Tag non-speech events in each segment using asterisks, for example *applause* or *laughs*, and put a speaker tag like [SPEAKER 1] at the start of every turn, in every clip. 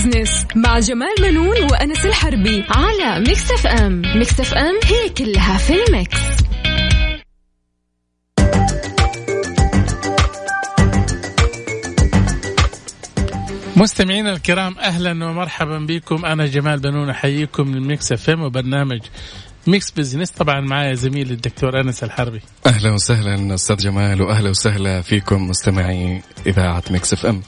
[SPEAKER 1] بزنس مع جمال منون وانس الحربي
[SPEAKER 2] على ميكس اف ام ميكس اف ام هي كلها في الميكس
[SPEAKER 3] مستمعينا الكرام اهلا ومرحبا بكم انا جمال بنون احييكم من ميكس اف ام وبرنامج ميكس بزنس طبعا معايا زميلي الدكتور انس الحربي
[SPEAKER 4] اهلا وسهلا استاذ جمال واهلا وسهلا فيكم مستمعي اذاعه ميكس اف ام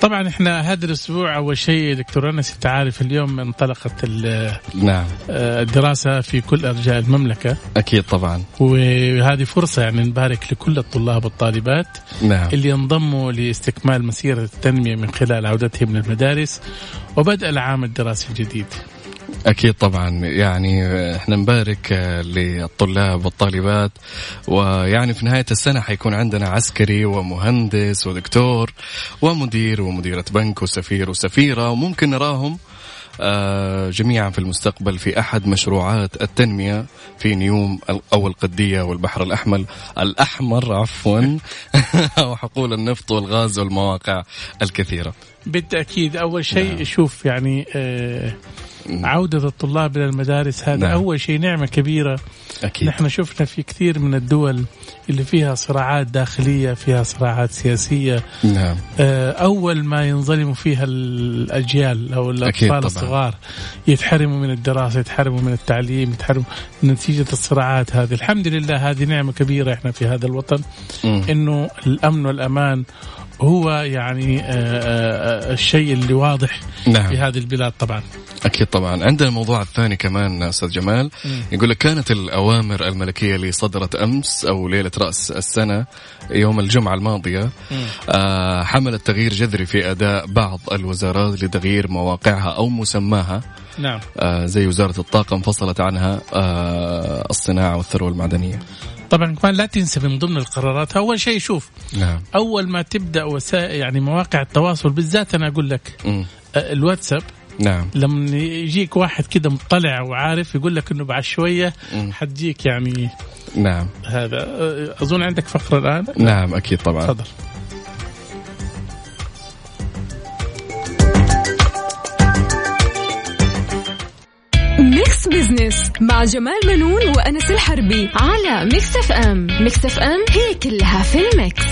[SPEAKER 3] طبعا احنا هذا الاسبوع اول شيء دكتور انس انت عارف اليوم انطلقت ال-
[SPEAKER 4] نعم
[SPEAKER 3] الدراسه في كل ارجاء المملكه
[SPEAKER 4] اكيد طبعا
[SPEAKER 3] وهذه فرصه يعني نبارك لكل الطلاب والطالبات
[SPEAKER 4] نعم
[SPEAKER 3] اللي انضموا لاستكمال مسيره التنميه من خلال عودتهم للمدارس وبدء العام الدراسي الجديد
[SPEAKER 4] اكيد طبعا يعني احنا نبارك آه، للطلاب والطالبات ويعني في نهايه السنه حيكون عندنا عسكري ومهندس ودكتور ومدير ومديره بنك وسفير وسفيره وممكن نراهم آه، جميعا في المستقبل في احد مشروعات التنميه في نيوم ال- او القديه والبحر الاحمر الاحمر عفوا *laughs* وحقول النفط والغاز والمواقع الكثيره.
[SPEAKER 3] بالتاكيد اول شيء نعم. شوف يعني آه عوده الطلاب الى المدارس هذا نعم.
[SPEAKER 4] نعم.
[SPEAKER 3] اول شيء نعمه كبيره
[SPEAKER 4] اكيد
[SPEAKER 3] نحن شفنا في كثير من الدول اللي فيها صراعات داخليه فيها صراعات سياسيه
[SPEAKER 4] نعم
[SPEAKER 3] آه، اول ما ينظلموا فيها الاجيال او
[SPEAKER 4] أكيد
[SPEAKER 3] الاطفال
[SPEAKER 4] طبعاً.
[SPEAKER 3] الصغار يتحرموا من الدراسه يتحرموا من التعليم يتحرموا نتيجه الصراعات هذه الحمد لله هذه نعمه كبيره احنا في هذا الوطن
[SPEAKER 4] مم.
[SPEAKER 3] انه الامن والامان هو يعني آه، آه، آه، الشيء اللي واضح
[SPEAKER 4] نعم
[SPEAKER 3] في هذه البلاد طبعا
[SPEAKER 4] أكيد طبعا عندنا الموضوع الثاني كمان أستاذ جمال يقول لك كانت الأوامر الملكية اللي صدرت أمس أو ليلة رأس السنة يوم الجمعة الماضية آه حملت تغيير جذري في أداء بعض الوزارات لتغيير مواقعها أو مسماها
[SPEAKER 3] نعم
[SPEAKER 4] آه زي وزارة الطاقة انفصلت عنها آه الصناعة والثروة المعدنية
[SPEAKER 3] طبعا كمان لا تنسى من ضمن القرارات اول شيء شوف
[SPEAKER 4] نعم
[SPEAKER 3] اول ما تبدا وسائل يعني مواقع التواصل بالذات انا اقول لك
[SPEAKER 4] مم.
[SPEAKER 3] آه، الواتساب
[SPEAKER 4] نعم
[SPEAKER 3] لما يجيك واحد كده مطلع وعارف يقول لك انه بعد شويه
[SPEAKER 4] مم.
[SPEAKER 3] حتجيك يعني
[SPEAKER 4] نعم
[SPEAKER 3] هذا آه، اظن عندك فقره الان
[SPEAKER 4] نعم أكيد طبعا
[SPEAKER 3] تفضل
[SPEAKER 1] ميكس بزنس مع جمال منون وانس الحربي
[SPEAKER 2] على ميكس اف ام ميكس اف ام هي كلها في الميكس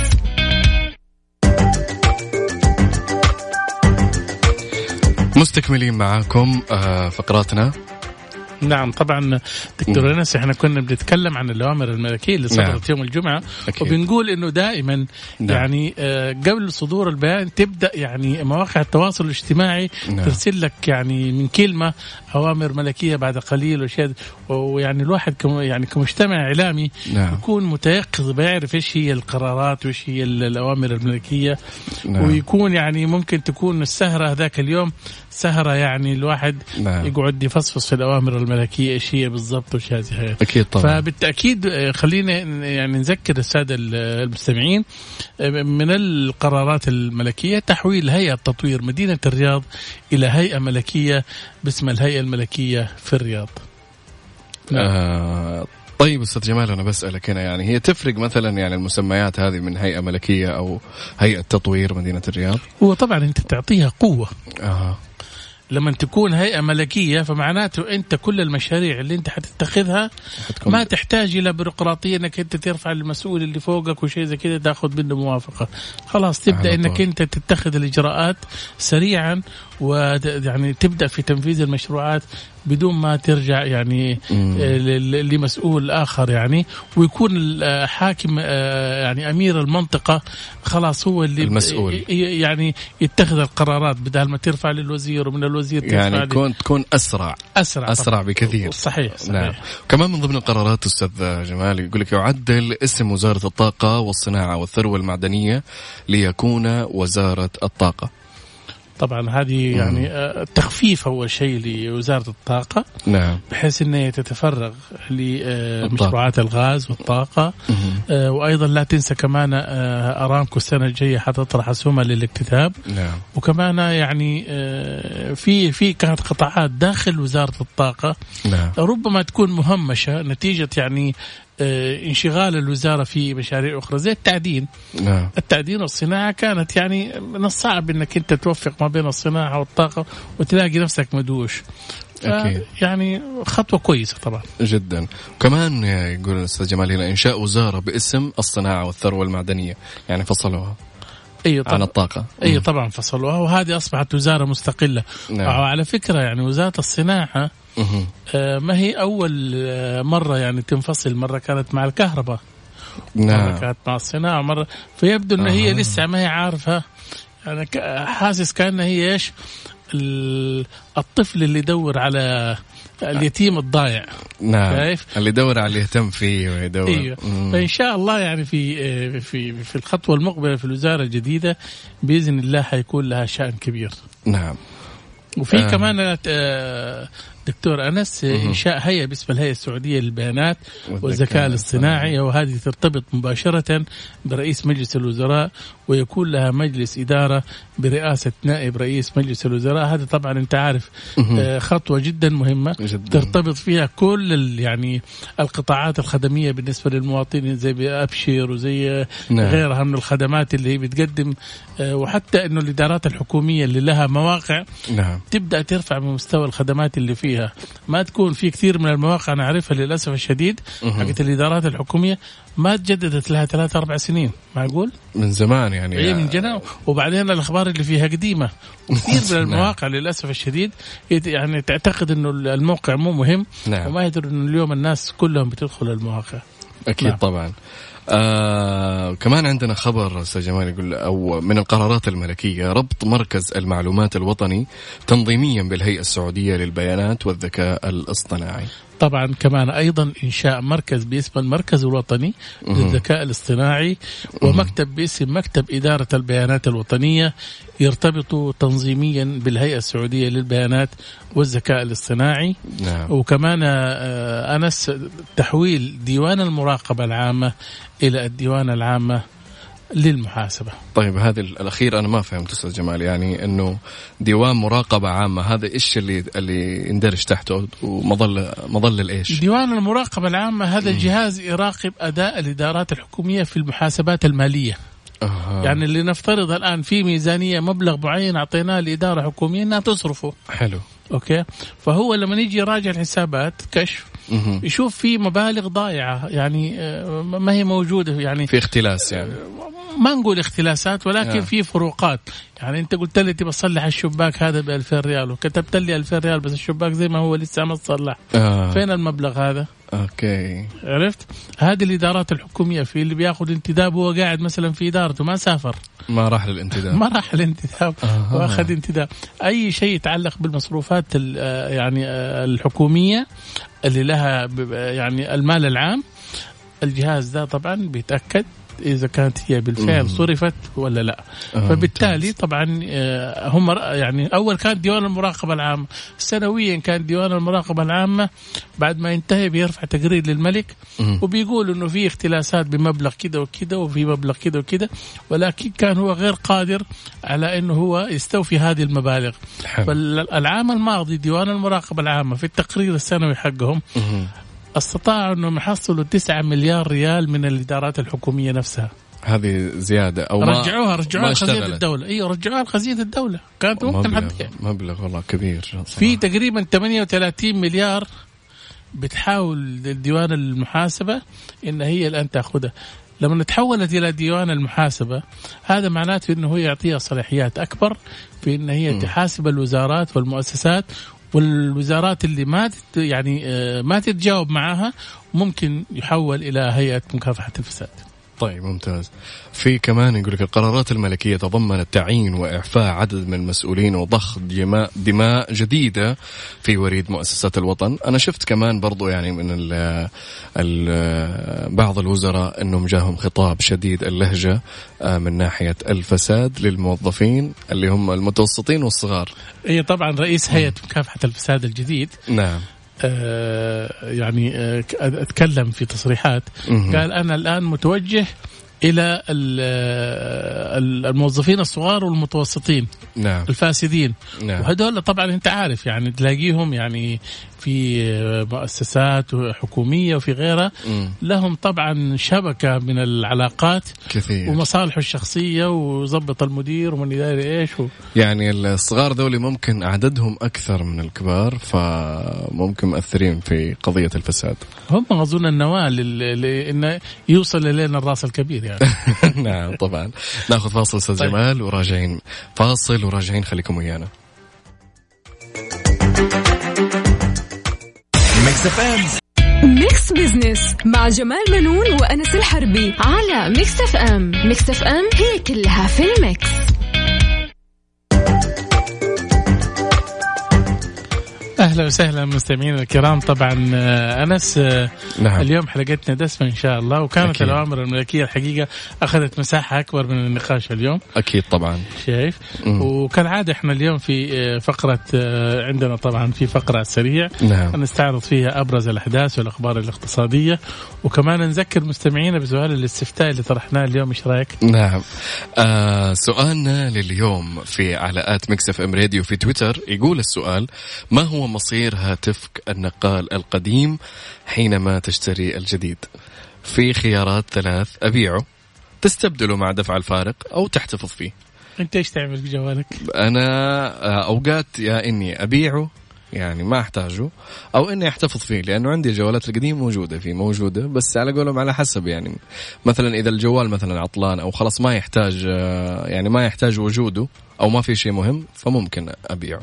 [SPEAKER 4] مستكملين معاكم آه فقراتنا
[SPEAKER 3] نعم طبعا دكتور انس احنا كنا بنتكلم عن الاوامر الملكيه اللي صدرت
[SPEAKER 4] نعم.
[SPEAKER 3] يوم الجمعه
[SPEAKER 4] أكيد.
[SPEAKER 3] وبنقول انه دائما
[SPEAKER 4] نعم.
[SPEAKER 3] يعني آه، قبل صدور البيان تبدا يعني مواقع التواصل الاجتماعي
[SPEAKER 4] نعم.
[SPEAKER 3] ترسل لك يعني من كلمه اوامر ملكيه بعد قليل وشيء ويعني الواحد كم يعني كمجتمع اعلامي
[SPEAKER 4] نعم.
[SPEAKER 3] يكون متيقظ بيعرف ايش هي القرارات وايش هي ال- الاوامر الملكيه
[SPEAKER 4] نعم.
[SPEAKER 3] ويكون يعني ممكن تكون السهره ذاك اليوم سهره يعني الواحد
[SPEAKER 4] نعم.
[SPEAKER 3] يقعد يفصفص في الاوامر الملكيه ايش هي بالضبط وايش هذه
[SPEAKER 4] أكيد طبعا
[SPEAKER 3] فبالتاكيد آه، خلينا ن- يعني نذكر الساده ال- المستمعين آه، من القرارات الملكيه تحويل هيئه تطوير مدينه الرياض الى هيئه ملكيه باسم الهيئه الملكيه في الرياض. نعم.
[SPEAKER 4] آه طيب استاذ جمال انا بسالك هنا يعني هي تفرق مثلا يعني المسميات هذه من هيئه ملكيه او هيئه تطوير مدينه الرياض؟
[SPEAKER 3] هو طبعا انت تعطيها قوه
[SPEAKER 4] اه
[SPEAKER 3] لما تكون هيئه ملكيه فمعناته انت كل المشاريع اللي انت حتتخذها
[SPEAKER 4] حتكون
[SPEAKER 3] ما تحتاج الى بيروقراطيه انك انت ترفع المسؤول اللي فوقك وشيء زي كذا تاخذ منه موافقه خلاص تبدا
[SPEAKER 4] على طول.
[SPEAKER 3] انك انت تتخذ الاجراءات سريعا ويعني تبدا يعني في تنفيذ المشروعات بدون ما ترجع يعني
[SPEAKER 4] مم.
[SPEAKER 3] آه، ل- ل- لمسؤول اخر يعني ويكون الحاكم يعني امير المنطقه خلاص هو اللي
[SPEAKER 4] المسؤول.
[SPEAKER 3] ي- ي- يعني يتخذ القرارات بدل ما ترفع للوزير ومن الوزير ترفع
[SPEAKER 4] يعني
[SPEAKER 3] لل-
[SPEAKER 4] تكون تكون اسرع
[SPEAKER 3] اسرع
[SPEAKER 4] اسرع بكثير
[SPEAKER 3] صحيح صحيح
[SPEAKER 4] نعم كمان من ضمن القرارات استاذ جمال يقول لك يعدل اسم وزاره الطاقه والصناعه والثروه المعدنيه ليكون وزاره الطاقه
[SPEAKER 3] طبعا هذه يعني آه، تخفيف اول شيء لوزاره الطاقه
[SPEAKER 4] نعم
[SPEAKER 3] بحيث انها تتفرغ لمشروعات الغاز والطاقه آه، وايضا لا تنسى كمان آه، ارامكو السنه الجايه حتطرح اسهمها للاكتتاب
[SPEAKER 4] نعم
[SPEAKER 3] وكمان يعني آه، في في كانت قطاعات داخل وزاره الطاقه
[SPEAKER 4] نعم
[SPEAKER 3] ربما تكون مهمشه نتيجه يعني آه، انشغال الوزاره في مشاريع اخرى زي التعدين
[SPEAKER 4] نعم
[SPEAKER 3] التعدين والصناعه كانت يعني من الصعب انك انت توفق ما بين الصناعه والطاقه وتلاقي نفسك مدوش ف-
[SPEAKER 4] أكيد.
[SPEAKER 3] يعني خطوه كويسه طبعا
[SPEAKER 4] جدا وكمان يقول الاستاذ جمال هنا انشاء وزاره باسم الصناعه والثروه المعدنيه يعني فصلوها
[SPEAKER 3] ايوه
[SPEAKER 4] عن
[SPEAKER 3] طبعا
[SPEAKER 4] الطاقه
[SPEAKER 3] اي طبعا فصلوها وهذه اصبحت وزاره مستقله
[SPEAKER 4] نعم.
[SPEAKER 3] وعلى فكره يعني وزاره الصناعه
[SPEAKER 4] مهم.
[SPEAKER 3] آه، ما هي اول آه، مره يعني تنفصل مره كانت مع الكهرباء مره
[SPEAKER 4] نعم
[SPEAKER 3] كانت مع الصناعه مره فيبدو ان هي
[SPEAKER 4] آه.
[SPEAKER 3] لسه ما هي عارفه يعني ك- حاسس كانها هي ايش ال- الطفل اللي يدور على اليتيم الضايع
[SPEAKER 4] نعم
[SPEAKER 3] شايف؟
[SPEAKER 4] اللي يدور على اللي يهتم فيه ويدور
[SPEAKER 3] ايوه
[SPEAKER 4] مم.
[SPEAKER 3] فان شاء الله يعني في آه، في في الخطوه المقبله في الوزاره الجديده باذن الله حيكون لها شان كبير
[SPEAKER 4] نعم
[SPEAKER 3] وفي
[SPEAKER 4] آه.
[SPEAKER 3] آه. كمان آه، دكتور انس آه، انشاء هيئه باسم الهيئه السعوديه للبيانات
[SPEAKER 4] والذكاء
[SPEAKER 3] والذكاء
[SPEAKER 4] الاصطناعي.
[SPEAKER 3] الاصطناعي وهذه ترتبط مباشره برئيس مجلس الوزراء ويكون لها مجلس اداره برئاسه نائب رئيس مجلس الوزراء هذا طبعا انت عارف آه، خطوه جدا مهمه
[SPEAKER 4] جداً.
[SPEAKER 3] ترتبط فيها كل ال- يعني القطاعات الخدميه بالنسبه للمواطنين زي ابشر وزي
[SPEAKER 4] نعم.
[SPEAKER 3] نعم. غيرها من الخدمات اللي هي بتقدم آه، وحتى انه الادارات الحكوميه اللي لها مواقع
[SPEAKER 4] نعم
[SPEAKER 3] تبدا ترفع من مستوى الخدمات اللي فيها ما تكون في كثير من المواقع انا اعرفها للاسف الشديد حقت الادارات الحكوميه ما تجددت لها ثلاث اربع سنين معقول
[SPEAKER 4] من زمان يعني
[SPEAKER 3] هي من جنة وبعدين الاخبار اللي فيها قديمه كثير من
[SPEAKER 4] *laughs* نعم.
[SPEAKER 3] المواقع للاسف الشديد يت- يعني تعتقد انه الموقع مو مهم
[SPEAKER 4] نعم.
[SPEAKER 3] وما يدروا انه اليوم الناس كلهم بتدخل المواقع
[SPEAKER 4] اكيد نعم.
[SPEAKER 3] نعم.
[SPEAKER 4] طبعا آه كمان عندنا خبر استاذ جمال يقول او من القرارات الملكيه ربط مركز المعلومات الوطني تنظيميا بالهيئه السعوديه للبيانات والذكاء الاصطناعي
[SPEAKER 3] طبعا كمان ايضا انشاء مركز باسم المركز الوطني للذكاء الاصطناعي ومكتب باسم مكتب اداره البيانات الوطنيه يرتبط تنظيميا بالهيئه السعوديه للبيانات والذكاء الاصطناعي
[SPEAKER 4] نعم
[SPEAKER 3] وكمان آه، انس تحويل ديوان المراقبه العامه الى الديوان العامه للمحاسبه
[SPEAKER 4] طيب هذا الاخير انا ما فهمت استاذ جمال يعني انه ديوان مراقبه عامه هذا ايش اللي اللي يندرج تحته ومظله مظله الايش؟
[SPEAKER 3] ديوان المراقبه العامه هذا الجهاز يراقب اداء الادارات الحكوميه في المحاسبات الماليه
[SPEAKER 4] آه
[SPEAKER 3] يعني اللي نفترض الان في ميزانيه مبلغ معين اعطيناه لاداره حكوميه انها تصرفه
[SPEAKER 4] حلو
[SPEAKER 3] اوكي فهو لما يجي يراجع الحسابات كشف
[SPEAKER 4] مهم.
[SPEAKER 3] يشوف في مبالغ ضايعه يعني آه، ما هي موجوده يعني
[SPEAKER 4] في اختلاس يعني
[SPEAKER 3] ما نقول اختلاسات ولكن
[SPEAKER 4] آه.
[SPEAKER 3] في فروقات يعني انت قلت لي تبي تصلح الشباك هذا ب 2000 ريال وكتبت لي 2000 ريال بس الشباك زي ما هو لسه ما تصلح
[SPEAKER 4] آه.
[SPEAKER 3] فين المبلغ هذا
[SPEAKER 4] اوكي
[SPEAKER 3] عرفت هذه الادارات الحكوميه في اللي بياخذ انتداب وهو قاعد مثلا في ادارته ما سافر
[SPEAKER 4] ما راح للانتداب
[SPEAKER 3] ما راح الانتداب
[SPEAKER 4] أها.
[SPEAKER 3] واخذ انتداب اي شيء يتعلق بالمصروفات ال- آه، يعني آه، الحكوميه اللي لها ب- آه، يعني المال العام الجهاز ده طبعا بيتاكد اذا كانت هي بالفعل صرفت ولا لا
[SPEAKER 4] آه،
[SPEAKER 3] فبالتالي طبعا آه، هم رأ- يعني اول كان ديوان المراقبه العامه سنويا كان ديوان المراقبه العامه بعد ما ينتهي بيرفع تقرير للملك
[SPEAKER 4] مم.
[SPEAKER 3] وبيقول انه في اختلاسات بمبلغ كده وكده وفي مبلغ كده وكده ولكن كان هو غير قادر على انه هو يستوفي هذه المبالغ
[SPEAKER 4] حلو.
[SPEAKER 3] فالعام الماضي ديوان المراقبه العامه في التقرير السنوي حقهم
[SPEAKER 4] مهم.
[SPEAKER 3] استطاعوا انهم يحصلوا 9 مليار ريال من الادارات الحكوميه نفسها
[SPEAKER 4] هذه زياده او ما-
[SPEAKER 3] رجعوها
[SPEAKER 4] ما
[SPEAKER 3] رجعوها لخزينه
[SPEAKER 4] اشتغلت.
[SPEAKER 3] الدوله ايوه رجعوها لخزينه الدوله كانت ممكن
[SPEAKER 4] مبلغ
[SPEAKER 3] حتضيع
[SPEAKER 4] مبلغ والله كبير صراحة.
[SPEAKER 3] في تقريبا 38 مليار بتحاول ديوان المحاسبة إن هي الآن تأخذها لما تحولت إلى ديوان المحاسبة هذا معناته إنه هو يعطيها صلاحيات أكبر في إن هي تحاسب الوزارات والمؤسسات والوزارات اللي ما تت يعني آه، ما تتجاوب معاها ممكن يحول إلى هيئة مكافحة الفساد
[SPEAKER 4] طيب ممتاز في كمان يقول لك القرارات الملكيه تضمنت تعيين واعفاء عدد من المسؤولين وضخ دماء, دماء جديده في وريد مؤسسات الوطن انا شفت كمان برضو يعني من ال ال بعض الوزراء انهم جاهم خطاب شديد اللهجه آه، من ناحيه الفساد للموظفين اللي هم المتوسطين والصغار
[SPEAKER 3] إيه طبعا رئيس هيئة مكافحة الفساد الجديد
[SPEAKER 4] نعم
[SPEAKER 3] آه، يعني آه، ك- اتكلم في تصريحات
[SPEAKER 4] مهم.
[SPEAKER 3] قال انا الان متوجه الى ال- الموظفين الصغار والمتوسطين
[SPEAKER 4] نعم
[SPEAKER 3] الفاسدين
[SPEAKER 4] نعم.
[SPEAKER 3] وهدول طبعا انت عارف يعني تلاقيهم يعني في مؤسسات حكوميه وفي غيرها
[SPEAKER 4] مم.
[SPEAKER 3] لهم طبعا شبكه من العلاقات
[SPEAKER 4] كثير
[SPEAKER 3] ومصالحه الشخصيه ويظبط المدير ومن يداري ايش و...
[SPEAKER 4] يعني الصغار ذولي ممكن عددهم اكثر من الكبار فممكن مؤثرين في قضيه الفساد *laughs*
[SPEAKER 3] هم اظن النواه لل... لانه يوصل لين الراس الكبير يعني
[SPEAKER 4] نعم طبعا ناخذ فاصل استاذ
[SPEAKER 3] طيب.
[SPEAKER 4] جمال وراجعين فاصل وراجعين خليكم ويانا
[SPEAKER 5] ميكس اف ام
[SPEAKER 1] ميكس بزنس مع جمال منون وأنس الحربي
[SPEAKER 2] على ميكس اف ام ميكس اف ام هي كلها في الميكس
[SPEAKER 3] اهلا وسهلا مستمعينا الكرام طبعا آه، انس آه،
[SPEAKER 4] نعم
[SPEAKER 3] اليوم حلقتنا دسمه ان شاء الله وكانت
[SPEAKER 4] أكيد.
[SPEAKER 3] الاوامر الملكيه الحقيقه اخذت مساحه اكبر من النقاش اليوم
[SPEAKER 4] اكيد طبعا
[SPEAKER 3] شايف
[SPEAKER 4] مم.
[SPEAKER 3] وكالعاده احنا اليوم في آه، فقره آه، عندنا طبعا في فقره على السريع
[SPEAKER 4] نعم
[SPEAKER 3] نستعرض فيها ابرز الاحداث والاخبار الاقتصاديه وكمان نذكر مستمعينا بسؤال الاستفتاء اللي طرحناه اليوم ايش رايك؟
[SPEAKER 4] نعم آه سؤالنا لليوم في على ات ميكس اف ام راديو في تويتر يقول السؤال ما هو مصير هاتفك النقال القديم حينما تشتري الجديد في خيارات ثلاث ابيعه تستبدله مع دفع الفارق او تحتفظ فيه
[SPEAKER 3] انت ايش تعمل بجوالك؟
[SPEAKER 4] انا آه، اوقات يا اني ابيعه يعني ما احتاجه او اني احتفظ فيه لانه عندي الجوالات القديمه موجوده فيه موجوده بس على قولهم على حسب يعني مثلا اذا الجوال مثلا عطلان او خلاص ما يحتاج آه، يعني ما يحتاج وجوده او ما في شيء مهم فممكن ابيعه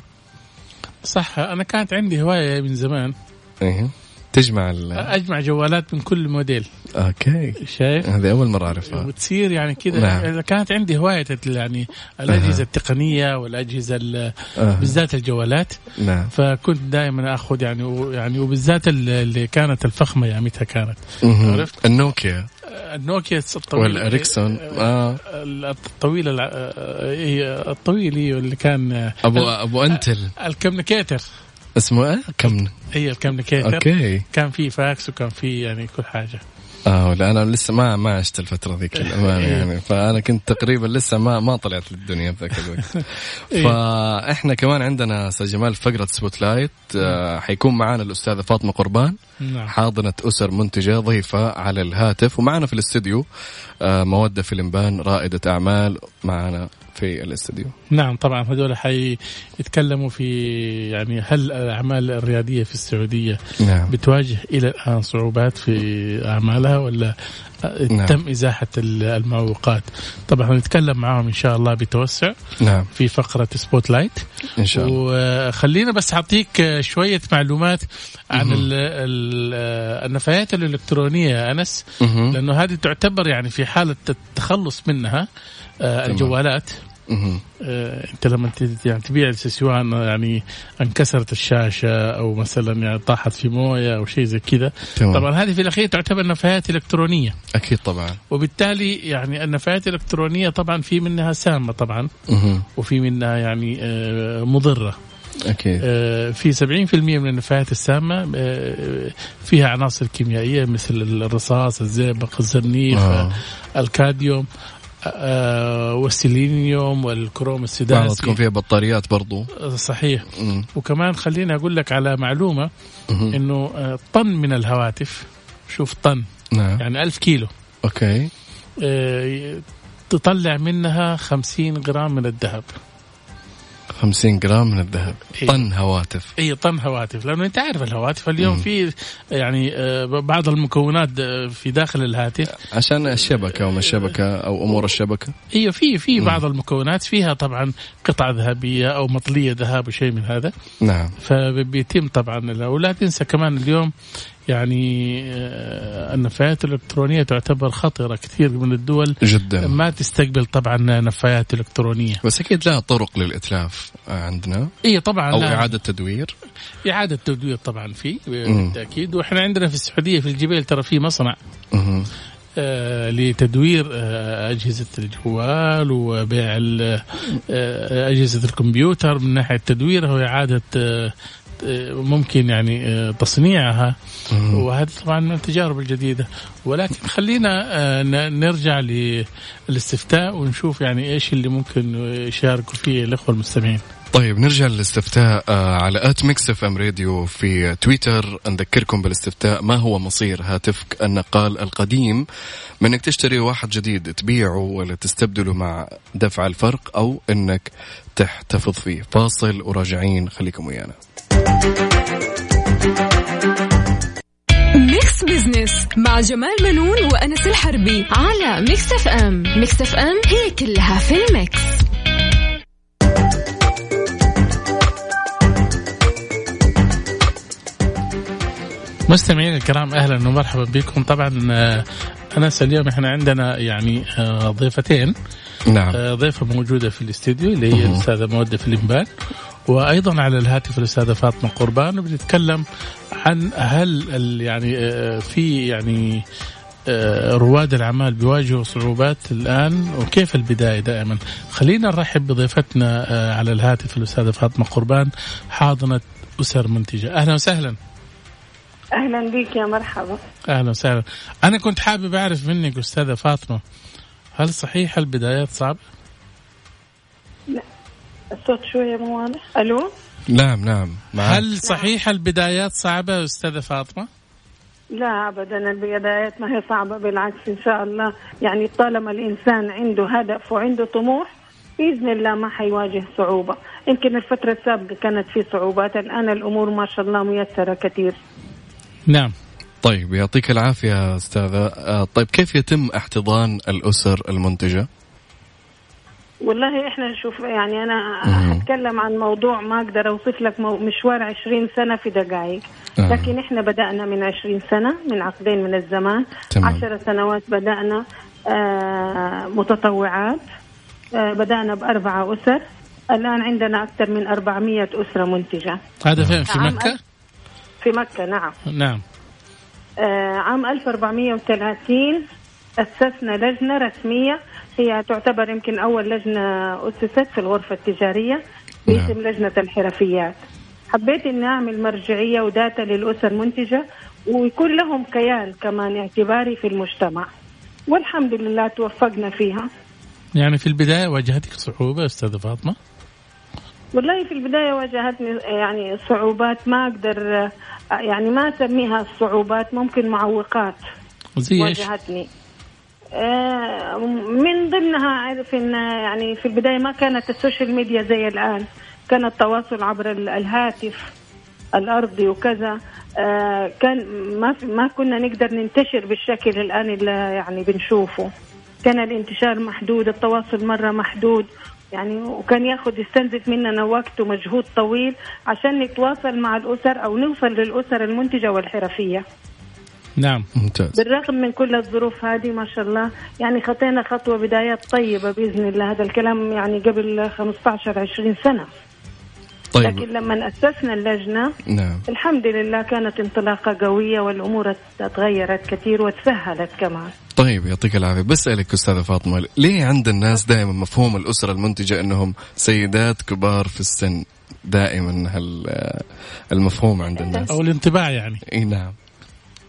[SPEAKER 3] صح انا كانت عندي هوايه من زمان
[SPEAKER 4] ايه تجمع ال
[SPEAKER 3] اجمع جوالات من كل موديل
[SPEAKER 4] اوكي
[SPEAKER 3] شايف؟
[SPEAKER 4] هذه اول مره اعرفها
[SPEAKER 3] وتصير يعني
[SPEAKER 4] نعم.
[SPEAKER 3] كذا كانت عندي هوايه يعني الاجهزه التقنيه والاجهزه ال-
[SPEAKER 4] آه.
[SPEAKER 3] بالذات الجوالات
[SPEAKER 4] نعم
[SPEAKER 3] فكنت دائما اخذ يعني و- يعني وبالذات ال- اللي كانت الفخمه يامتها كانت
[SPEAKER 4] مهم.
[SPEAKER 3] عرفت؟
[SPEAKER 4] النوكيا
[SPEAKER 3] النوكيا الطويل آه،
[SPEAKER 4] والاريكسون اه
[SPEAKER 3] الطويل الع- إيه، الطويل إيه، اللي كان
[SPEAKER 4] ابو ابو انتل
[SPEAKER 3] الكمنيكيتر
[SPEAKER 4] اسمه ايه كم
[SPEAKER 3] هي الكمنيكيتر
[SPEAKER 4] اوكي
[SPEAKER 3] كان في فاكس وكان في يعني كل حاجه
[SPEAKER 4] اه لا انا لسه ما ما عشت الفتره ذيك للامانه
[SPEAKER 3] إيه.
[SPEAKER 4] يعني فانا كنت تقريبا لسه ما ما طلعت للدنيا بذاك
[SPEAKER 3] *laughs*
[SPEAKER 4] الوقت
[SPEAKER 3] إيه.
[SPEAKER 4] فاحنا كمان عندنا استاذ جمال فقره سبوت لايت آه حيكون معانا الاستاذه فاطمه قربان
[SPEAKER 3] نعم
[SPEAKER 4] حاضنه اسر منتجه ضيفه على الهاتف ومعنا في الاستديو آه موده فيلمبان رائده اعمال معنا في الاستديو
[SPEAKER 3] نعم طبعا هذول حيتكلموا في يعني هل الاعمال الرياديه في السعوديه
[SPEAKER 4] نعم
[SPEAKER 3] بتواجه الى الان صعوبات في اعمالها ولا
[SPEAKER 4] نعم.
[SPEAKER 3] تم ازاحه ال- المعوقات طبعا هنتكلم معاهم ان شاء الله بتوسع
[SPEAKER 4] نعم
[SPEAKER 3] في فقره سبوت لايت
[SPEAKER 4] ان شاء الله
[SPEAKER 3] وخلينا بس اعطيك شويه معلومات عن ال ال النفايات الالكترونيه يا انس
[SPEAKER 4] مهم.
[SPEAKER 3] لانه هذه تعتبر يعني في حاله التخلص منها آه، الجوالات
[SPEAKER 4] مهم.
[SPEAKER 3] آه، انت لما ت- يعني تبيع سواء يعني انكسرت الشاشه او مثلا يعني طاحت في مويه او شيء زي كذا
[SPEAKER 4] تمام.
[SPEAKER 3] طبعا هذه في الاخير تعتبر نفايات الكترونيه
[SPEAKER 4] اكيد طبعا
[SPEAKER 3] وبالتالي يعني النفايات الالكترونيه طبعا في منها سامه طبعا
[SPEAKER 4] مهم.
[SPEAKER 3] وفي منها يعني آه، مضره
[SPEAKER 4] اكيد
[SPEAKER 3] آه، في 70% من النفايات السامة آه، فيها عناصر كيميائية مثل الرصاص الزئبق الزنيف
[SPEAKER 4] آه.
[SPEAKER 3] آه. الكاديوم آه، والسيلينيوم والكروم
[SPEAKER 4] بعضها تكون
[SPEAKER 3] السداسي
[SPEAKER 4] فيها بطاريات برضو
[SPEAKER 3] آه، صحيح
[SPEAKER 4] مم.
[SPEAKER 3] وكمان خليني أقول لك على معلومة
[SPEAKER 4] مهم.
[SPEAKER 3] أنه آه، طن من الهواتف شوف طن
[SPEAKER 4] نعم
[SPEAKER 3] يعني ألف كيلو
[SPEAKER 4] اوكي
[SPEAKER 3] آه، تطلع منها 50 جرام من الذهب
[SPEAKER 4] 50 جرام من الذهب
[SPEAKER 3] إيه.
[SPEAKER 4] طن هواتف
[SPEAKER 3] اي طن هواتف لانه انت عارف الهواتف اليوم
[SPEAKER 4] مم.
[SPEAKER 3] في يعني آه، بعض المكونات آه، في داخل الهاتف
[SPEAKER 4] عشان الشبكه وما الشبكه او امور الشبكه
[SPEAKER 3] ايوه في في بعض المكونات فيها طبعا قطع ذهبيه او مطليه ذهب وشيء من هذا
[SPEAKER 4] نعم
[SPEAKER 3] فبيتم طبعا لا- ولا تنسى كمان اليوم يعني آه، النفايات الالكترونيه تعتبر خطره كثير من الدول
[SPEAKER 4] جدا
[SPEAKER 3] ما تستقبل طبعا نفايات الكترونيه
[SPEAKER 4] بس اكيد لها طرق للاتلاف عندنا
[SPEAKER 3] اي طبعا
[SPEAKER 4] او
[SPEAKER 3] إيه، لا.
[SPEAKER 4] اعاده تدوير
[SPEAKER 3] اعاده تدوير طبعا في
[SPEAKER 4] مم.
[SPEAKER 3] بالتاكيد واحنا عندنا في السعوديه في الجبيل ترى في مصنع
[SPEAKER 4] مهم.
[SPEAKER 3] آه، لتدوير آه، أجهزة الجوال وبيع ال- آه، أجهزة الكمبيوتر من ناحية تدويرها وإعادة آه، ممكن يعني تصنيعها وهذه طبعا من التجارب الجديده ولكن خلينا آه، نرجع للاستفتاء ونشوف يعني ايش اللي ممكن يشاركوا فيه الاخوه المستمعين
[SPEAKER 4] طيب نرجع للاستفتاء آه، على ات ميكس اف ام راديو في تويتر نذكركم بالاستفتاء ما هو مصير هاتفك النقال القديم من انك تشتري واحد جديد تبيعه ولا تستبدله مع دفع الفرق او انك تحتفظ فيه فاصل وراجعين خليكم ويانا
[SPEAKER 1] ميكس بزنس مع جمال منون وانس الحربي
[SPEAKER 2] على ميكس اف ام ميكس اف ام هي كلها في الميكس
[SPEAKER 3] مستمعينا الكرام اهلا ومرحبا بكم طبعا انس اليوم احنا عندنا يعني ضيفتين
[SPEAKER 4] نعم
[SPEAKER 3] ضيفه موجوده آه، في الاستديو اللي هي الاستاذه مودة فليمبان وايضا على الهاتف الاستاذه فاطمه قربان وبنتكلم عن هل يعني في يعني آه، رواد الاعمال بيواجهوا صعوبات الان وكيف البدايه دائما خلينا نرحب بضيفتنا آه، على الهاتف الاستاذه فاطمه قربان حاضنه اسر منتجه اهلا وسهلا
[SPEAKER 5] اهلا بك يا مرحبا
[SPEAKER 3] اهلا وسهلا انا كنت حابب اعرف منك استاذه فاطمه هل صحيح البدايات صعبه
[SPEAKER 5] لا الصوت شويه مو واضح الو
[SPEAKER 4] نعم نعم
[SPEAKER 3] معك. هل صحيح البدايات صعبه استاذه فاطمه
[SPEAKER 5] لا ابدا البدايات ما هي صعبه بالعكس ان شاء الله يعني طالما الانسان عنده هدف وعنده طموح باذن الله ما حيواجه صعوبه يمكن الفتره السابقه كانت في صعوبات الان الامور ما شاء الله ميسره كثير
[SPEAKER 3] نعم
[SPEAKER 4] طيب يعطيك العافية أستاذة طيب كيف يتم احتضان الأسر المنتجة؟
[SPEAKER 5] والله احنا نشوف يعني انا هتكلم عن موضوع ما اقدر اوصف لك مشوار 20 سنه في دقائق آه. لكن احنا بدانا من 20 سنه من عقدين من الزمان 10 سنوات بدانا آه متطوعات آه بدانا باربعه اسر الان عندنا اكثر من 400 اسره منتجه
[SPEAKER 3] هذا فين في مكه؟
[SPEAKER 5] في مكة نعم
[SPEAKER 3] نعم
[SPEAKER 5] آه عام 1430 أسسنا لجنة رسمية هي تعتبر يمكن أول لجنة أسست في الغرفة التجارية باسم نعم. لجنة الحرفيات حبيت أن أعمل مرجعية وداتا للأسر منتجة ويكون لهم كيان كمان اعتباري في المجتمع والحمد لله توفقنا فيها
[SPEAKER 3] يعني في البداية واجهتك صعوبة أستاذة فاطمة؟
[SPEAKER 5] والله في البدايه واجهتني يعني صعوبات ما اقدر يعني ما اسميها صعوبات ممكن معوقات
[SPEAKER 3] زي
[SPEAKER 5] واجهتني آه، من ضمنها عارف ان يعني في البدايه ما كانت السوشيال ميديا زي الان كان التواصل عبر الهاتف الارضي وكذا آه، كان ما ما كنا نقدر ننتشر بالشكل الان اللي يعني بنشوفه كان الانتشار محدود التواصل مره محدود يعني وكان ياخذ يستنزف مننا وقت ومجهود طويل عشان نتواصل مع الاسر او نوصل للاسر المنتجه والحرفيه.
[SPEAKER 3] نعم
[SPEAKER 4] ممتاز
[SPEAKER 5] بالرغم من كل الظروف هذه ما شاء الله يعني خطينا خطوه بدايات طيبه باذن الله هذا الكلام يعني قبل 15 20 سنه. طيب. لكن لما اسسنا اللجنه
[SPEAKER 4] نعم.
[SPEAKER 5] الحمد لله كانت انطلاقه قويه والامور تغيرت كثير وتسهلت كمان
[SPEAKER 4] طيب يعطيك العافيه بسالك استاذه فاطمه ليه عند الناس دائما مفهوم الاسره المنتجه انهم سيدات كبار في السن دائما المفهوم عند الناس
[SPEAKER 3] او الانطباع يعني
[SPEAKER 4] اي نعم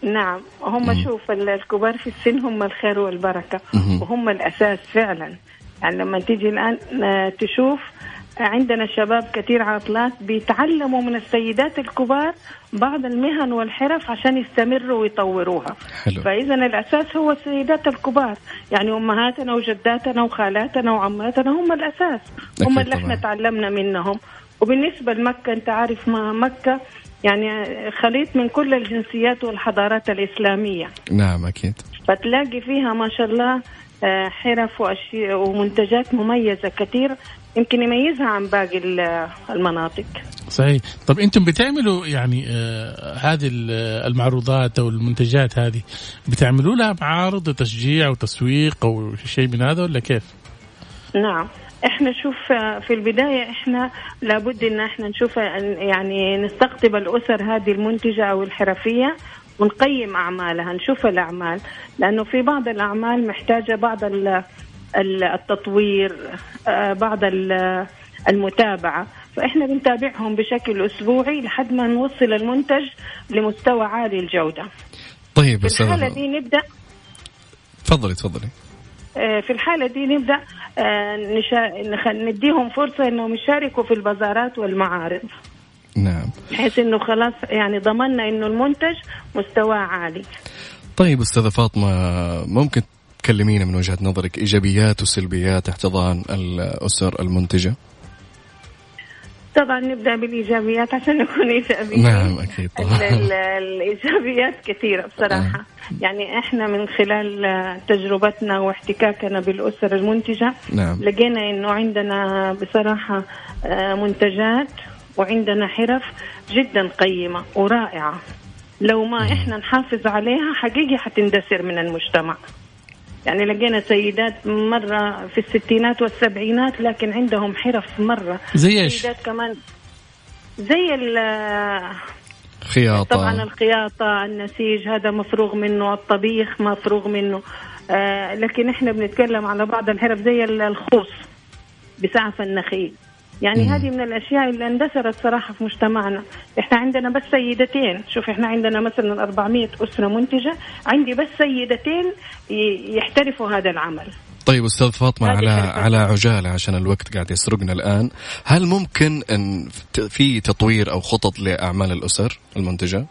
[SPEAKER 5] نعم هم م- شوف الكبار في السن هم الخير والبركه م- وهم الاساس فعلا يعني لما تيجي الان تشوف آه، عندنا شباب كثير عاطلات بيتعلموا من السيدات الكبار بعض المهن والحرف عشان يستمروا ويطوروها
[SPEAKER 4] حلو.
[SPEAKER 5] فإذا الأساس هو السيدات الكبار يعني أمهاتنا وجداتنا وخالاتنا وعماتنا هم الأساس هم اللي احنا تعلمنا منهم وبالنسبة لمكة أنت عارف ما مكة يعني خليط من كل الجنسيات والحضارات الإسلامية
[SPEAKER 4] نعم أكيد
[SPEAKER 5] فتلاقي فيها ما شاء الله آه، حرف وأشياء ومنتجات مميزة كثير يمكن يميزها عن باقي المناطق
[SPEAKER 3] صحيح طب انتم بتعملوا يعني آه هذه المعروضات او المنتجات هذه بتعملوا لها معارض وتشجيع وتسويق او شيء من هذا ولا كيف
[SPEAKER 5] نعم احنا شوف في البدايه احنا لابد ان احنا نشوف يعني نستقطب الاسر هذه المنتجه او الحرفيه ونقيم اعمالها نشوف الاعمال لانه في بعض الاعمال محتاجه بعض آه، التطوير بعض المتابعه فإحنا بنتابعهم بشكل أسبوعي لحد ما نوصل المنتج لمستوى عالي الجودة
[SPEAKER 4] طيب
[SPEAKER 5] في الحالة
[SPEAKER 4] استاذ
[SPEAKER 5] دي نبدأ
[SPEAKER 4] تفضلي تفضلي
[SPEAKER 5] آه، في الحالة دي نبدأ آه، نشا... نخ- نديهم فرصة إنهم يشاركوا في البازارات والمعارض
[SPEAKER 4] نعم
[SPEAKER 5] بحيث إنه خلاص يعني ضمننا إنه المنتج مستواه عالي
[SPEAKER 4] طيب استاذة فاطمة ممكن تكلمينا من وجهة نظرك ايجابيات وسلبيات احتضان الاسر المنتجة
[SPEAKER 5] طبعا نبدأ بالإيجابيات عشان نكون إيجابيين
[SPEAKER 4] نعم اكيد *laughs*
[SPEAKER 5] ال- ال-
[SPEAKER 4] طبعا
[SPEAKER 5] الايجابيات كثيره بصراحه يعني احنا من خلال آه، تجربتنا واحتكاكنا بالاسر المنتجه
[SPEAKER 4] نعم
[SPEAKER 5] لقينا انه عندنا بصراحه آه، منتجات وعندنا حرف جدا قيمه ورائعه لو ما احنا نحافظ عليها حقيقي حتندثر من المجتمع يعني لقينا سيدات مره في الستينات والسبعينات لكن عندهم حرف مره
[SPEAKER 3] زي ايش؟
[SPEAKER 5] سيدات كمان زي ال- طبعا
[SPEAKER 4] خياطة
[SPEAKER 5] الخياطة النسيج هذا مفروغ منه الطبيخ مفروغ منه آه لكن احنا بنتكلم على بعض الحرف زي ال- الخوص بسعف النخيل يعني
[SPEAKER 4] مم.
[SPEAKER 5] هذه من الاشياء اللي اندثرت صراحه في مجتمعنا، احنا عندنا بس سيدتين، شوف احنا عندنا مثلا 400 اسره منتجه، عندي بس سيدتين ي- يحترفوا هذا العمل.
[SPEAKER 4] طيب استاذ فاطمة
[SPEAKER 5] هذه
[SPEAKER 4] على
[SPEAKER 5] الحرفة.
[SPEAKER 4] على عجالة عشان الوقت قاعد يسرقنا الان هل ممكن ان في تطوير او خطط لاعمال الاسر المنتجة؟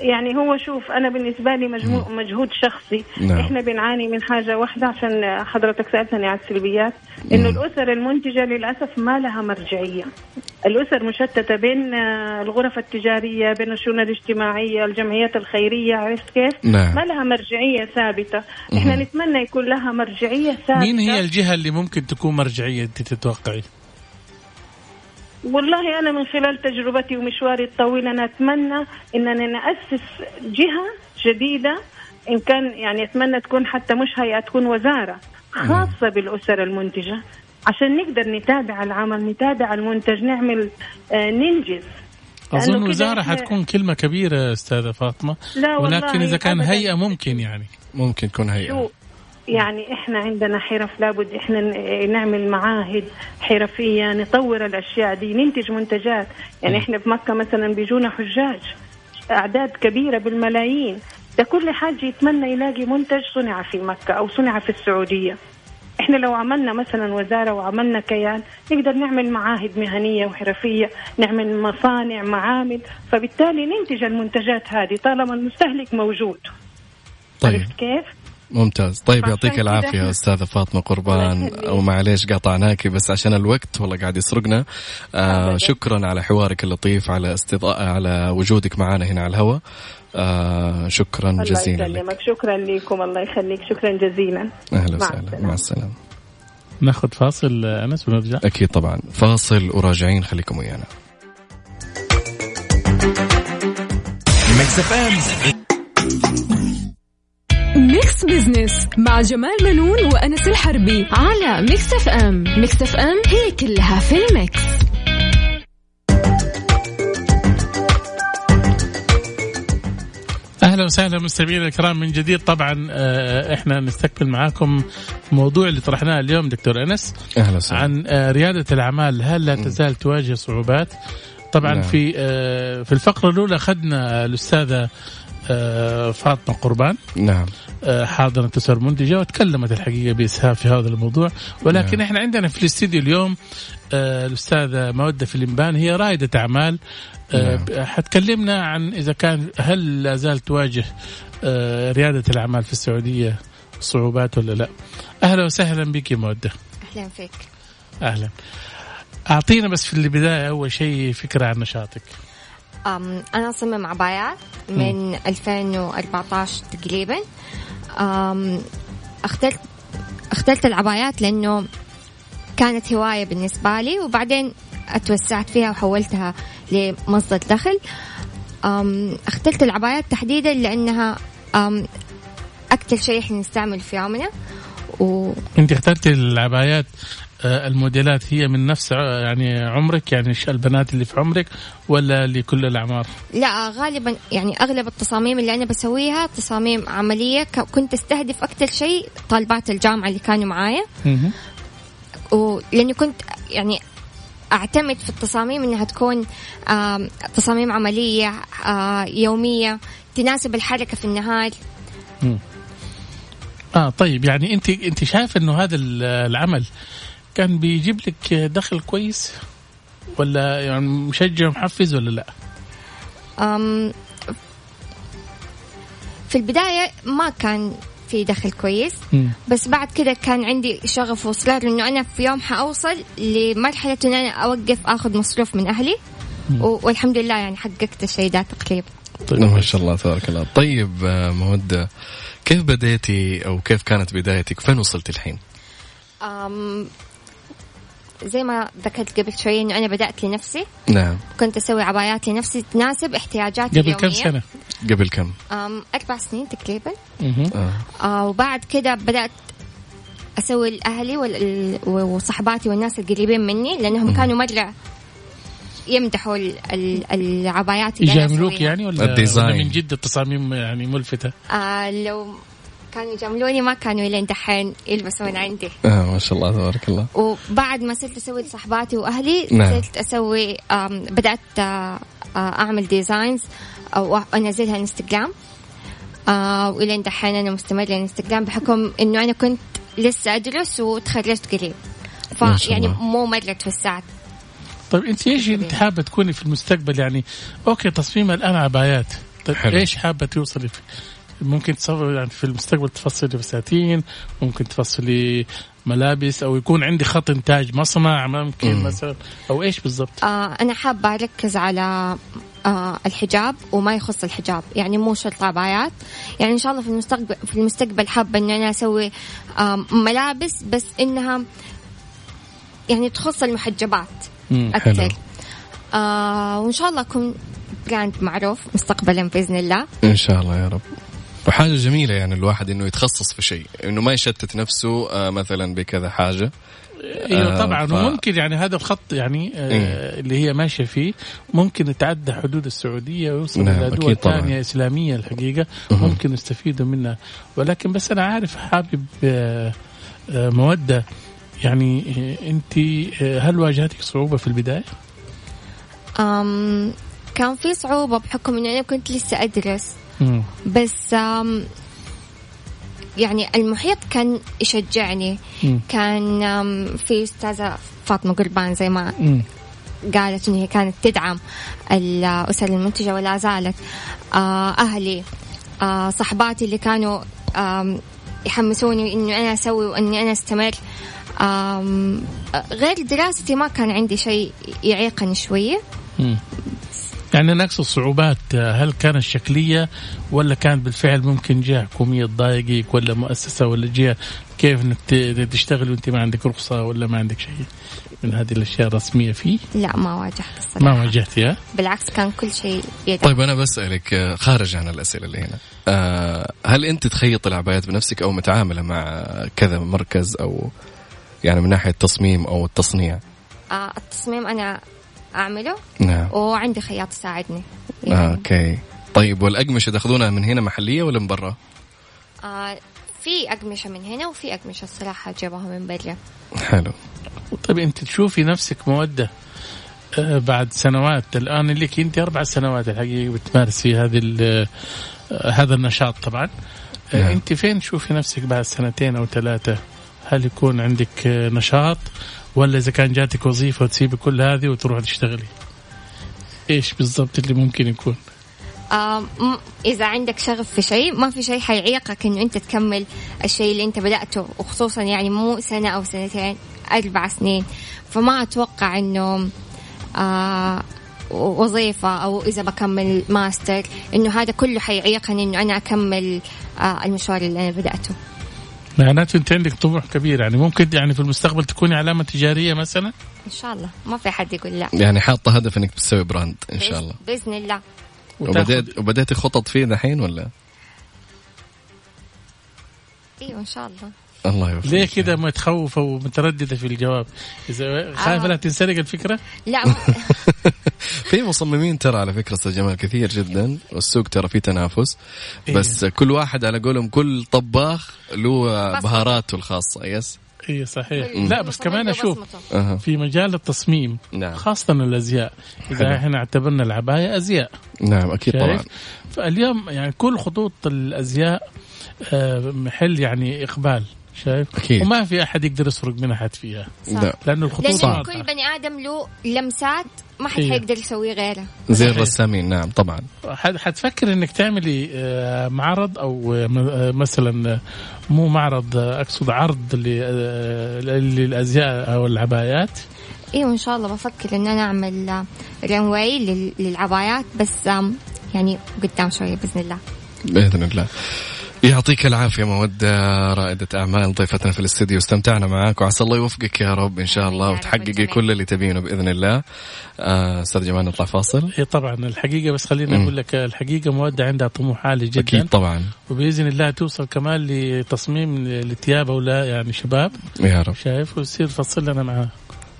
[SPEAKER 5] يعني هو شوف انا بالنسبه لي مجموع مجهود شخصي
[SPEAKER 4] نعم.
[SPEAKER 5] احنا بنعاني من حاجه واحده عشان حضرتك سالتني عن السلبيات انه
[SPEAKER 4] مم.
[SPEAKER 5] الاسر المنتجه للاسف ما لها مرجعيه الاسر مشتته بين آه، الغرف التجاريه بين الشؤون الاجتماعيه الجمعيات الخيريه عرفت كيف
[SPEAKER 4] نعم.
[SPEAKER 5] ما لها مرجعيه ثابته احنا نتمنى يكون لها مرجعيه ثابته
[SPEAKER 3] مين هي الجهة اللي ممكن تكون مرجعية انت تتوقعي؟
[SPEAKER 5] والله أنا من خلال تجربتي ومشواري الطويل أنا أتمنى أننا نأسس جهة جديدة إن كان يعني أتمنى تكون حتى مش هيئة تكون وزارة خاصة بالأسر المنتجة عشان نقدر نتابع العمل نتابع المنتج نعمل آه، ننجز لأنه
[SPEAKER 3] اظن
[SPEAKER 5] كده
[SPEAKER 3] وزارة
[SPEAKER 5] إحنا-
[SPEAKER 3] حتكون كلمة كبيرة استاذة فاطمة
[SPEAKER 5] لا والله
[SPEAKER 3] ولكن اذا كان
[SPEAKER 5] أبداً.
[SPEAKER 3] هيئة ممكن يعني
[SPEAKER 4] ممكن تكون هيئة
[SPEAKER 5] شو يعني احنا عندنا حرف لابد احنا ن- نعمل معاهد حرفيه نطور الاشياء دي ننتج منتجات يعني احنا في مكه مثلا بيجونا حجاج اعداد كبيره بالملايين ده كل حاج يتمنى يلاقي منتج صنع في مكه او صنع في السعوديه احنا لو عملنا مثلا وزاره وعملنا كيان نقدر نعمل معاهد مهنيه وحرفيه نعمل مصانع معامل فبالتالي ننتج المنتجات هذه طالما المستهلك موجود
[SPEAKER 4] طيب
[SPEAKER 5] عرفت كيف؟
[SPEAKER 4] ممتاز طيب
[SPEAKER 5] فعشان
[SPEAKER 4] يعطيك
[SPEAKER 5] كده
[SPEAKER 4] العافية
[SPEAKER 5] إحنا-
[SPEAKER 4] أستاذة فاطمة
[SPEAKER 5] الله
[SPEAKER 4] قربان
[SPEAKER 5] يخليك.
[SPEAKER 4] ومعليش قاطعناكي بس عشان الوقت والله قاعد يسرقنا آه
[SPEAKER 5] أبداً.
[SPEAKER 4] شكرا على حوارك اللطيف على استضاء على وجودك معنا هنا على الهواء آه شكرا
[SPEAKER 5] الله
[SPEAKER 4] جزيلا لك
[SPEAKER 5] يسلمك شكرا لكم الله يخليك شكرا جزيلا
[SPEAKER 4] أهلا
[SPEAKER 5] مع
[SPEAKER 4] وسهلا
[SPEAKER 5] السلامة.
[SPEAKER 4] مع السلامة
[SPEAKER 3] ناخذ فاصل آه، انس ونرجع
[SPEAKER 4] أكيد طبعا فاصل وراجعين خليكم ويانا
[SPEAKER 6] ميكس اف ام
[SPEAKER 1] ميكس بزنس مع جمال منون وأنس الحربي
[SPEAKER 2] على ميكس اف ام ميكس اف ام هي كلها في الميكس
[SPEAKER 3] اهلا وسهلا مستمعينا الكرام من جديد طبعا آه، احنا نستقبل معاكم موضوع اللي طرحناه اليوم دكتور انس
[SPEAKER 4] أهلا وسهلا
[SPEAKER 3] عن آه، ريادة الأعمال هل لا تزال تواجه صعوبات؟ طبعا
[SPEAKER 4] نعم.
[SPEAKER 3] في آه، في الفقرة الأولى أخذنا الأستاذة آه، فاطمة قربان
[SPEAKER 4] نعم
[SPEAKER 3] آه، حاضنة أسر منتجة وتكلمت الحقيقة بإسهاب في هذا الموضوع ولكن
[SPEAKER 4] نعم.
[SPEAKER 3] احنا عندنا في الاستديو اليوم آه، الأستاذة مودة فليمبان هي رائدة أعمال آه،
[SPEAKER 4] نعم.
[SPEAKER 3] ب- حتكلمنا عن إذا كان هل لا زال تواجه آه، ريادة الأعمال في السعودية صعوبات ولا لا؟ أهلا وسهلا بك يا مودة
[SPEAKER 7] اهلا فيك
[SPEAKER 3] اهلا اعطينا بس في البدايه اول شيء فكره عن نشاطك
[SPEAKER 7] أم انا اصمم عبايات من 2014 تقريبا أم اخترت اخترت العبايات لانه كانت هوايه بالنسبه لي وبعدين اتوسعت فيها وحولتها لمصدر دخل أم اخترت العبايات تحديدا لانها أم اكثر شيء احنا نستعمل في يومنا و
[SPEAKER 3] انت اخترتي العبايات آه، الموديلات هي من نفس ع- يعني عمرك يعني ش- البنات اللي في عمرك ولا لكل الاعمار
[SPEAKER 7] لا غالبا يعني اغلب التصاميم اللي انا بسويها تصاميم عمليه ك- كنت استهدف اكثر شيء طالبات الجامعه اللي كانوا معايا ولاني كنت يعني اعتمد في التصاميم انها تكون آم، تصاميم عمليه آه، يوميه تناسب الحركه في النهار
[SPEAKER 3] اه طيب يعني انت انت شايف انه هذا ال- العمل كان بيجيب لك دخل كويس ولا يعني مشجع ومحفز ولا لا؟
[SPEAKER 7] أم، في البداية ما كان في دخل كويس
[SPEAKER 3] مم.
[SPEAKER 7] بس بعد كده كان عندي شغف وإصرار إنه أنا في يوم حأوصل لمرحلة إن أنا أوقف آخذ مصروف من أهلي و- والحمد لله يعني حققت الشيء ده تقريبا
[SPEAKER 3] طيب.
[SPEAKER 4] نعم، ما شاء الله تبارك الله طيب آه، مودة كيف بديتي أو كيف كانت بدايتك فين وصلت الحين
[SPEAKER 7] أم زي ما ذكرت قبل شوي إنه أنا بدأت لنفسي
[SPEAKER 4] نعم
[SPEAKER 7] كنت أسوي عبايات لنفسي تناسب احتياجاتي
[SPEAKER 3] قبل كم
[SPEAKER 7] اليومية.
[SPEAKER 3] سنه؟
[SPEAKER 4] قبل كم
[SPEAKER 7] أم أربع سنين تقريبا
[SPEAKER 3] مهم.
[SPEAKER 4] آه.
[SPEAKER 7] آه، وبعد كده بدأت أسوي لأهلي وال- ال- وصحباتي والناس القريبين مني لأنهم كانوا مرة يمدحوا ال- ال- العبايات اللي أنا
[SPEAKER 3] يجاملوك
[SPEAKER 7] أسويها.
[SPEAKER 3] يعني ولا
[SPEAKER 4] الديزاين.
[SPEAKER 3] ولا من جد التصاميم يعني ملفته؟
[SPEAKER 7] آه لو كانوا يجاملوني ما كانوا إلين دحين يلبسوا من عندي
[SPEAKER 4] آه ما شاء الله تبارك الله
[SPEAKER 7] وبعد ما صرت أسوي لصحباتي وأهلي
[SPEAKER 4] آه. نعم.
[SPEAKER 7] صرت أسوي آم، بدأت آه، آه، أعمل ديزاينز أو أنزلها انستغرام آه وإلين دحين أنا مستمرة انستغرام بحكم إنه أنا كنت لسه أدرس وتخرجت قريب
[SPEAKER 4] ما شاء
[SPEAKER 7] فيعني
[SPEAKER 4] الله.
[SPEAKER 7] مو مرة توسعت
[SPEAKER 3] طيب انت ايش انت حابه تكوني في المستقبل يعني اوكي تصميم الان عبايات طيب
[SPEAKER 4] حلو.
[SPEAKER 3] حلو. ايش حابه توصلي في ممكن تصور يعني في المستقبل تفصلي فساتين ممكن تفصلي ملابس او يكون عندي خط انتاج مصنع ممكن مثلا او ايش بالضبط
[SPEAKER 7] آه أنا حابة أركز على آه الحجاب وما يخص الحجاب يعني مو شرط عبايات يعني إن شاء الله في المستقبل في المستقبل حابة إن أنا أسوي آه ملابس بس إنها يعني تخص المحجبات
[SPEAKER 3] مم،
[SPEAKER 7] أكثر آه وإن شاء الله أكون براند معروف مستقبلا بإذن الله
[SPEAKER 4] إن شاء الله يا رب وحاجة جميلة يعني الواحد انه يتخصص في شيء، انه ما يشتت نفسه آه، مثلا بكذا حاجة.
[SPEAKER 3] ايوه
[SPEAKER 4] آه،
[SPEAKER 3] طبعا
[SPEAKER 4] ف- إيه.
[SPEAKER 3] وممكن يعني هذا الخط يعني آه اللي هي ماشيه فيه ممكن يتعدى حدود السعوديه ويوصل
[SPEAKER 4] نعم،
[SPEAKER 3] الى دول
[SPEAKER 4] أكيد طبعاً.
[SPEAKER 3] ثانيه اسلاميه الحقيقه ممكن يستفيدوا منها ولكن بس انا عارف حابب آه آه موده يعني آه انت آه هل واجهتك صعوبه في البدايه؟
[SPEAKER 7] آم كان في صعوبة بحكم إنه أنا كنت لسه أدرس
[SPEAKER 3] مم.
[SPEAKER 7] بس آم، يعني المحيط كان يشجعني
[SPEAKER 3] مم.
[SPEAKER 7] كان آم، في استاذه فاطمه قربان زي ما
[SPEAKER 3] مم.
[SPEAKER 7] قالت ان هي كانت تدعم الاسر المنتجه ولا زالت آه، اهلي آه، صحباتي اللي كانوا آم، يحمسوني اني انا اسوي واني انا استمر آم، غير دراستي ما كان عندي شيء يعيقني شويه
[SPEAKER 3] مم. يعني انا اقصد صعوبات آه، هل كانت شكليه ولا كان بالفعل ممكن جهه حكوميه تضايقك ولا مؤسسه ولا جهه كيف انك ت- تشتغل وانت ما عندك رخصه ولا ما عندك شيء من هذه الاشياء الرسميه فيه
[SPEAKER 7] لا ما واجهت الصراحه
[SPEAKER 3] ما واجهتي ها؟
[SPEAKER 7] بالعكس كان كل شيء يدعم
[SPEAKER 4] طيب انا بسألك آه، خارج عن الأسئلة اللي هنا. آه، هل انت تخيط العبايات بنفسك او متعاملة مع كذا مركز او يعني من ناحية التصميم او التصنيع؟
[SPEAKER 7] آه، التصميم انا اعمله
[SPEAKER 4] نعم.
[SPEAKER 7] وعندي خياط يساعدني
[SPEAKER 4] آه،
[SPEAKER 7] يعني
[SPEAKER 4] اوكي. طيب والاقمشة تاخذونها من هنا محلية ولا من برا؟
[SPEAKER 7] آه في أقمشة من هنا وفي أقمشة الصراحة جابوها من برا
[SPEAKER 4] حلو.
[SPEAKER 3] طيب انت تشوفي نفسك موده آه، بعد سنوات الان لك انت اربع سنوات الحقيقه بتمارسي هذه ال- آه، هذا النشاط طبعا آه،
[SPEAKER 4] نعم.
[SPEAKER 3] انت فين تشوفي نفسك بعد سنتين او ثلاثه؟ هل يكون عندك آه، نشاط ولا اذا كان جاتك وظيفه وتسيبي كل هذه وتروح تشتغلي؟ ايش بالضبط اللي ممكن يكون؟
[SPEAKER 7] آه م- إذا عندك شغف في شيء ما في شيء حيعيقك إنه أنت تكمل الشيء اللي أنت بدأته وخصوصا يعني مو سنة أو سنتين أربع سنين فما أتوقع إنه آه وظيفة أو إذا بكمل ماستر إنه هذا كله حيعيقني إنه أنا أكمل آه المشوار اللي أنا بدأته
[SPEAKER 3] معناته انت عندك طموح كبير يعني ممكن يعني في المستقبل تكوني علامه تجاريه مثلا؟
[SPEAKER 7] إن شاء الله ما في حد يقول لا
[SPEAKER 4] يعني حاطة هدف انك تسوي براند ان شاء الله.
[SPEAKER 7] بإذن الله
[SPEAKER 3] وتاخد-
[SPEAKER 4] وبدأت وبدأتي خطط فيه دحين ولا؟
[SPEAKER 7] أيوه إن شاء الله
[SPEAKER 4] الله يوفقك.
[SPEAKER 3] ليه كده متخوفة ومترددة في الجواب؟ إذا خايفة
[SPEAKER 7] آه.
[SPEAKER 3] لا تنسرق الفكرة؟
[SPEAKER 7] لا
[SPEAKER 4] *laughs*
[SPEAKER 7] ما-
[SPEAKER 4] في مصممين ترى على فكره استاذ جمال كثير جدا والسوق ترى فيه تنافس بس كل واحد على قولهم كل طباخ له بهاراته الخاصه يس
[SPEAKER 3] اي صحيح
[SPEAKER 7] مم.
[SPEAKER 3] لا بس كمان اشوف
[SPEAKER 7] بصمته.
[SPEAKER 4] أها.
[SPEAKER 3] في مجال التصميم
[SPEAKER 4] نعم.
[SPEAKER 3] خاصة الازياء
[SPEAKER 4] حلو.
[SPEAKER 3] اذا احنا اعتبرنا العباية ازياء
[SPEAKER 4] نعم اكيد طبعا
[SPEAKER 3] شايف؟ فاليوم يعني كل خطوط الازياء آه، محل يعني اقبال شايف؟
[SPEAKER 4] أكيد.
[SPEAKER 3] وما في احد يقدر يسرق من احد فيها
[SPEAKER 7] صح.
[SPEAKER 4] لا
[SPEAKER 3] لانه الخطوط
[SPEAKER 7] لأن
[SPEAKER 3] واضحة.
[SPEAKER 7] كل بني آدم له لمسات ما حد
[SPEAKER 3] إيه.
[SPEAKER 7] حيقدر يسويه غيره
[SPEAKER 4] زي الرسامين نعم طبعا
[SPEAKER 3] حت- حتفكر انك تعملي آه، معرض او آه، م- آه، مثلا آه، مو معرض آه، اقصد عرض ل- آه، للازياء او العبايات
[SPEAKER 7] ايوه ان شاء الله بفكر ان انا اعمل رنواي آه، للعبايات بس آم، يعني قدام شويه باذن الله
[SPEAKER 4] باذن الله يعطيك العافية مودة رائدة أعمال ضيفتنا في الاستديو استمتعنا معاك وعسى الله يوفقك يا رب إن شاء
[SPEAKER 7] آمين يا
[SPEAKER 4] الله
[SPEAKER 7] رب
[SPEAKER 4] وتحققي
[SPEAKER 7] والجميع.
[SPEAKER 4] كل اللي تبينه بإذن الله آه، أستاذ جمال نطلع فاصل
[SPEAKER 3] هي طبعا الحقيقه إيه، بس خليني
[SPEAKER 4] مم.
[SPEAKER 3] اقول لك الحقيقه مودة عندها طموح عالي جدا
[SPEAKER 4] أكيد طبعا
[SPEAKER 3] وباذن الله توصل كمان لتصميم الثياب او لا يعني شباب
[SPEAKER 4] يا رب
[SPEAKER 3] شايف وتصير تفصل لنا معاه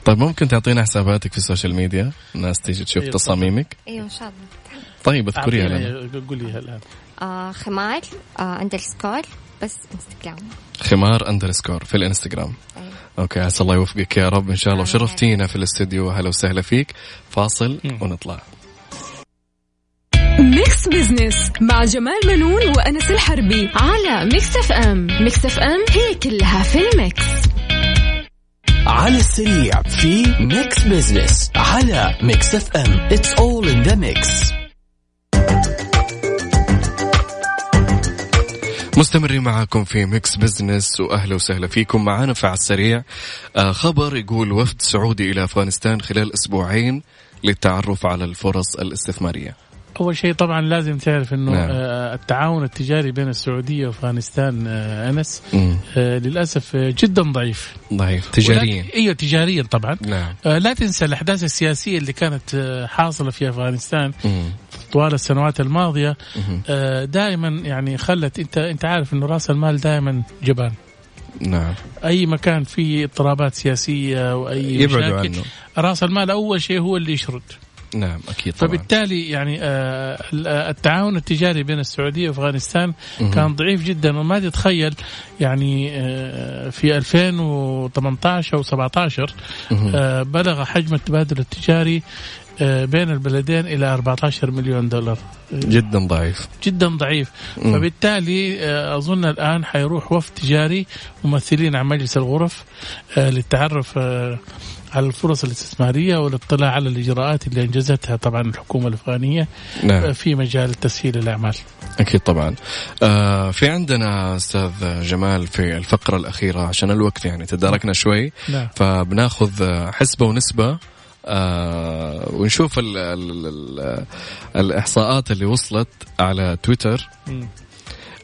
[SPEAKER 4] طيب ممكن تعطينا حساباتك في السوشيال ميديا الناس تيجي تشوف
[SPEAKER 3] إيه،
[SPEAKER 4] تصاميمك
[SPEAKER 7] ايوه ان شاء الله
[SPEAKER 4] طيب اذكريها لنا
[SPEAKER 3] أعطيني- إيه. قوليها الان
[SPEAKER 7] آه خمار آه اندرسكور بس انستغرام
[SPEAKER 4] خمار اندرسكور في الانستغرام
[SPEAKER 3] إيه.
[SPEAKER 7] أيوة.
[SPEAKER 4] اوكي عسى الله يوفقك يا رب ان شاء الله
[SPEAKER 7] آمين.
[SPEAKER 4] وشرفتينا في الاستديو هلا وسهلا فيك فاصل
[SPEAKER 3] مم.
[SPEAKER 4] ونطلع
[SPEAKER 1] ميكس بزنس مع جمال منون وانس الحربي
[SPEAKER 2] على ميكس اف ام ميكس اف ام هي كلها في الميكس
[SPEAKER 6] على السريع في ميكس بزنس على ميكس اف ام اتس اول ان ذا ميكس
[SPEAKER 4] مستمرين معاكم في ميكس بزنس واهلا وسهلا فيكم معانا في على السريع آه، خبر يقول وفد سعودي الى افغانستان خلال اسبوعين للتعرف على الفرص الاستثماريه
[SPEAKER 3] اول شيء طبعا لازم تعرف انه
[SPEAKER 4] نعم.
[SPEAKER 3] آه، التعاون التجاري بين السعوديه وافغانستان آه، انس
[SPEAKER 4] مم.
[SPEAKER 3] آه، للاسف آه، جدا ضعيف
[SPEAKER 4] ضعيف تجاريا
[SPEAKER 3] ولكن- ايوه تجاريا طبعا
[SPEAKER 4] نعم
[SPEAKER 3] آه، لا تنسى الاحداث السياسيه اللي كانت آه، حاصله في افغانستان
[SPEAKER 4] مم.
[SPEAKER 3] طوال السنوات الماضيه
[SPEAKER 4] مهم.
[SPEAKER 3] آه، دائما يعني خلت انت انت عارف انه راس المال دائما جبان
[SPEAKER 4] نعم
[SPEAKER 3] اي مكان فيه اضطرابات سياسيه واي
[SPEAKER 4] يبعدوا
[SPEAKER 3] مشاكل،
[SPEAKER 4] عنه
[SPEAKER 3] راس المال اول شيء هو اللي يشرد
[SPEAKER 4] نعم اكيد طبعا
[SPEAKER 3] فبالتالي يعني آه، ال- آه، التعاون التجاري بين السعوديه وافغانستان
[SPEAKER 4] مهم.
[SPEAKER 3] كان ضعيف جدا وما تتخيل يعني آه، في 2018 او 17
[SPEAKER 4] مهم.
[SPEAKER 3] آه، بلغ حجم التبادل التجاري آه، بين البلدين الى 14 مليون دولار
[SPEAKER 4] جدا ضعيف
[SPEAKER 3] جدا ضعيف
[SPEAKER 4] مم.
[SPEAKER 3] فبالتالي آه، اظن الان حيروح وفد تجاري ممثلين عن مجلس الغرف آه، للتعرف آه، على الفرص الاستثماريه والاطلاع على الاجراءات اللي انجزتها طبعا الحكومه الافغانيه آه،
[SPEAKER 4] نعم
[SPEAKER 3] في مجال تسهيل الاعمال.
[SPEAKER 4] اكيد طبعا آه في عندنا استاذ جمال في الفقره الاخيره عشان الوقت يعني تداركنا شوي
[SPEAKER 3] نعم.
[SPEAKER 4] فبناخذ آه، حسبه ونسبه آه ونشوف ال ال ال الاحصاءات اللي وصلت على تويتر
[SPEAKER 3] مم.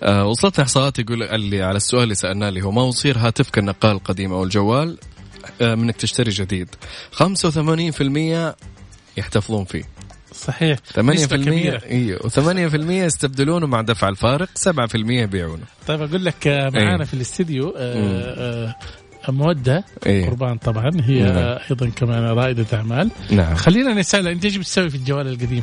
[SPEAKER 4] آه وصلت احصاءات يقول اللي على السؤال اللي سالناه اللي هو ما يصير هاتفك النقال القديم او الجوال آه منك تشتري جديد 85% يحتفظون فيه
[SPEAKER 3] صحيح
[SPEAKER 4] 8%
[SPEAKER 3] نسبة كبيرة.
[SPEAKER 4] ايوه 8% يستبدلونه مع دفع الفارق 7% يبيعونه
[SPEAKER 3] طيب اقول لك آه، معانا
[SPEAKER 4] إيه.
[SPEAKER 3] في الاستديو آه،
[SPEAKER 4] مم.
[SPEAKER 3] آه، آه، مودة
[SPEAKER 4] إيه.
[SPEAKER 3] قربان طبعا هي
[SPEAKER 4] نعم.
[SPEAKER 3] آه، ايضا كمان رائدة اعمال
[SPEAKER 4] نعم
[SPEAKER 3] خلينا نسألها انت ايش بتسوي في الجوال القديم؟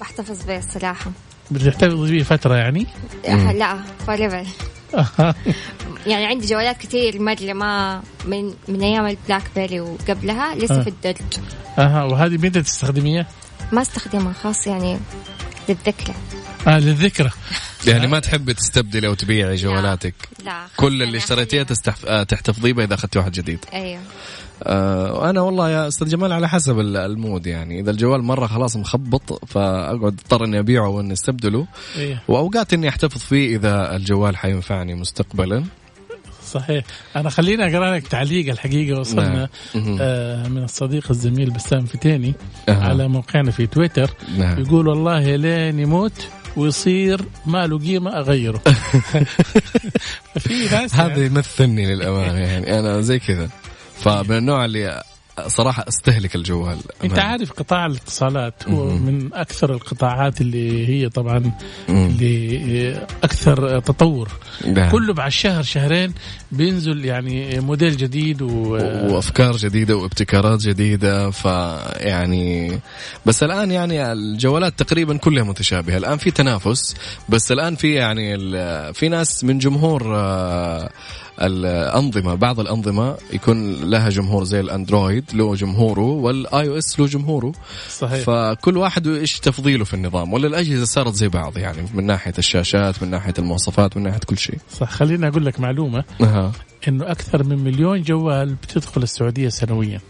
[SPEAKER 7] بحتفظ به الصراحه
[SPEAKER 3] بتحتفظ به فترة يعني؟ *laughs*
[SPEAKER 7] آه، لا فوريفر يعني عندي جوالات كتير مره ما من من ايام البلاك بيري وقبلها لسه
[SPEAKER 3] آه.
[SPEAKER 7] في الدرج
[SPEAKER 3] اها وهذه متى تستخدميها؟
[SPEAKER 7] ما استخدمها خاص يعني للذكرى
[SPEAKER 3] اه للذكرى
[SPEAKER 4] يعني ما تحبي تستبدلي او تبيعي جوالاتك
[SPEAKER 7] لا خلاص
[SPEAKER 4] كل اللي
[SPEAKER 7] يعني
[SPEAKER 4] اشتريتيه
[SPEAKER 7] أخليها.
[SPEAKER 4] تستحف... آه، تحتفظيه بها اذا اخذتي واحد جديد
[SPEAKER 7] ايوه
[SPEAKER 4] آه وانا والله يا استاذ جمال على حسب ال- المود يعني اذا الجوال مره خلاص مخبط فاقعد اضطر اني ابيعه واني استبدله
[SPEAKER 3] ايه
[SPEAKER 4] واوقات اني احتفظ فيه اذا الجوال حينفعني مستقبلا
[SPEAKER 3] صحيح انا خليني اقرا لك تعليق الحقيقه وصلنا
[SPEAKER 4] نعم. مهم.
[SPEAKER 3] آه من الصديق الزميل بسام فتيني
[SPEAKER 4] أها.
[SPEAKER 3] على موقعنا في تويتر
[SPEAKER 4] نعم
[SPEAKER 3] يقول والله لين يموت ويصير ما له قيمه *laughs* اغيره في ناس
[SPEAKER 4] هذا
[SPEAKER 3] يعني-
[SPEAKER 4] يمثلني للامانه يعني انا زي كذا فمن النوع اللي صراحه استهلك الجوال
[SPEAKER 3] انت عارف قطاع الاتصالات هو من اكثر القطاعات اللي هي طبعا اللي اكثر تطور
[SPEAKER 4] نعم.
[SPEAKER 3] كله بعد شهر شهرين بينزل يعني موديل جديد و
[SPEAKER 4] وافكار جديده وابتكارات جديده فيعني بس الان يعني الجوالات تقريبا كلها متشابهه الان في تنافس بس الان في يعني ال- في ناس من جمهور آه، الانظمه بعض الانظمه يكون لها جمهور زي الاندرويد له جمهوره والاي او اس له جمهوره
[SPEAKER 3] صحيح
[SPEAKER 4] فكل واحد ايش تفضيله في النظام ولا الاجهزه صارت زي بعض يعني من ناحيه الشاشات من ناحيه المواصفات من ناحيه كل شيء
[SPEAKER 3] صح خليني اقول لك معلومه
[SPEAKER 4] أها.
[SPEAKER 3] انه اكثر من مليون جوال بتدخل السعوديه سنويا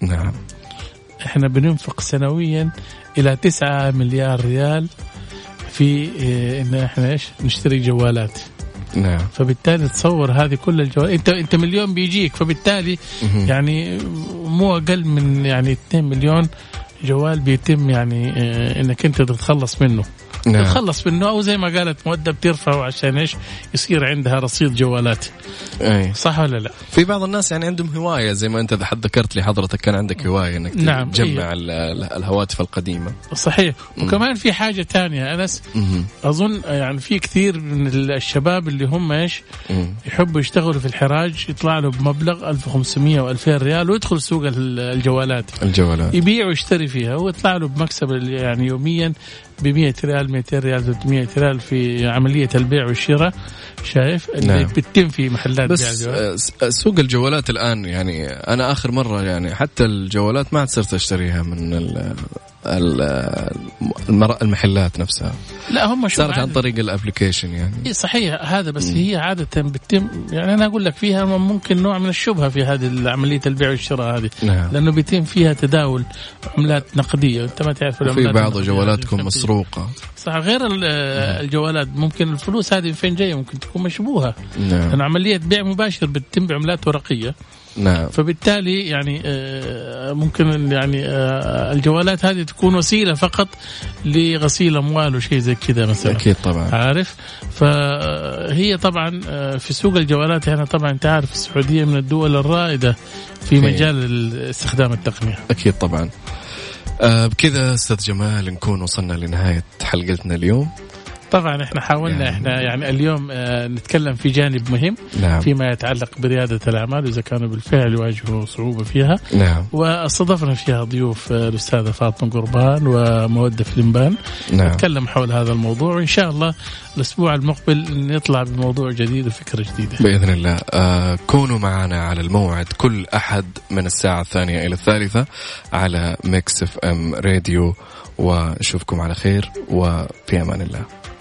[SPEAKER 4] نعم
[SPEAKER 3] احنا بننفق سنويا الى 9 مليار ريال في إيه، ان احنا ايش نشتري جوالات
[SPEAKER 4] نعم
[SPEAKER 3] فبالتالي تصور هذه كل الجوال انت انت مليون بيجيك فبالتالي يعني مو اقل من يعني 2 مليون جوال بيتم يعني آه، انك انت تتخلص منه
[SPEAKER 4] نعم
[SPEAKER 3] تتخلص منه او زي ما قالت مؤدب ترفعه عشان ايش يصير عندها رصيد جوالات
[SPEAKER 4] أي.
[SPEAKER 3] صح ولا لا
[SPEAKER 4] في بعض الناس يعني عندهم هوايه زي ما انت ذ- ذكرت لي حضرتك كان عندك هوايه انك
[SPEAKER 3] نعم،
[SPEAKER 4] تجمع
[SPEAKER 3] أيوه.
[SPEAKER 4] ال- ال- الهواتف القديمه
[SPEAKER 3] صحيح وكمان في حاجه تانية انس
[SPEAKER 4] مهم.
[SPEAKER 3] اظن يعني في كثير من الشباب اللي هم ايش
[SPEAKER 4] مم.
[SPEAKER 3] يحبوا يشتغلوا في الحراج يطلع له بمبلغ 1500 و2000 ريال ويدخل سوق ال- الجوالات
[SPEAKER 4] الجوالات
[SPEAKER 3] يبيع ويشتري فيها ويطلع له بمكسب يعني يوميا ب 100 ريال 200 ريال 300 ريال في عمليه البيع والشراء شايف اللي
[SPEAKER 4] نعم.
[SPEAKER 3] بتتم في محلات بيع
[SPEAKER 4] بس
[SPEAKER 3] الجوالات
[SPEAKER 4] آه، س- آه، سوق الجوالات الان يعني انا اخر مره يعني حتى الجوالات ما عاد صرت اشتريها من ال ال- المر- المحلات نفسها
[SPEAKER 3] لا هم شو
[SPEAKER 4] صارت عن
[SPEAKER 3] عادة-
[SPEAKER 4] طريق الابلكيشن يعني
[SPEAKER 3] إيه صحيح هذا بس هي عادة بتتم يعني أنا أقول لك فيها ممكن نوع من الشبهة في هذه عملية البيع والشراء هذه
[SPEAKER 4] نعم.
[SPEAKER 3] لأنه بيتم فيها تداول عملات نقدية أنت ما تعرف
[SPEAKER 4] في
[SPEAKER 3] العملات
[SPEAKER 4] بعض
[SPEAKER 3] النقدية
[SPEAKER 4] جوالاتكم نعم.
[SPEAKER 3] هذه.
[SPEAKER 4] مسروقه
[SPEAKER 3] صح غير ال- الجوالات ممكن الفلوس هذه من فين جاية ممكن تكون مشبوهة
[SPEAKER 4] نعم
[SPEAKER 3] لأن عملية بيع مباشر بتتم بعملات ورقية
[SPEAKER 4] نعم
[SPEAKER 3] فبالتالي يعني آه، ممكن يعني آه، الجوالات هذه تكون وسيلة فقط لغسيل أموال وشيء زي كذا مثلا
[SPEAKER 4] اكيد طبعا
[SPEAKER 3] عارف فهي طبعا في سوق الجوالات هنا طبعا انت عارف السعوديه من الدول الرائده في
[SPEAKER 4] في-
[SPEAKER 3] مجال استخدام التقنيه
[SPEAKER 4] اكيد طبعا آه، بكذا استاذ جمال نكون وصلنا لنهايه حلقتنا اليوم
[SPEAKER 3] طبعا احنا حاولنا
[SPEAKER 4] يعني-
[SPEAKER 3] احنا يعني اليوم آه، نتكلم في جانب مهم
[SPEAKER 4] نعم
[SPEAKER 3] فيما يتعلق برياده الاعمال اذا كانوا بالفعل يواجهوا صعوبه فيها
[SPEAKER 4] نعم
[SPEAKER 3] واستضفنا فيها ضيوف آه، الاستاذه فاطمه قربان وموده فلمبان
[SPEAKER 4] نعم
[SPEAKER 3] نتكلم حول هذا الموضوع وان شاء الله الاسبوع المقبل نطلع بموضوع جديد وفكره جديده
[SPEAKER 4] بإذن الله آه كونوا معنا على الموعد كل أحد من الساعة الثانية إلى الثالثة على ميكس اف ام راديو وأشوفكم على خير وفي أمان الله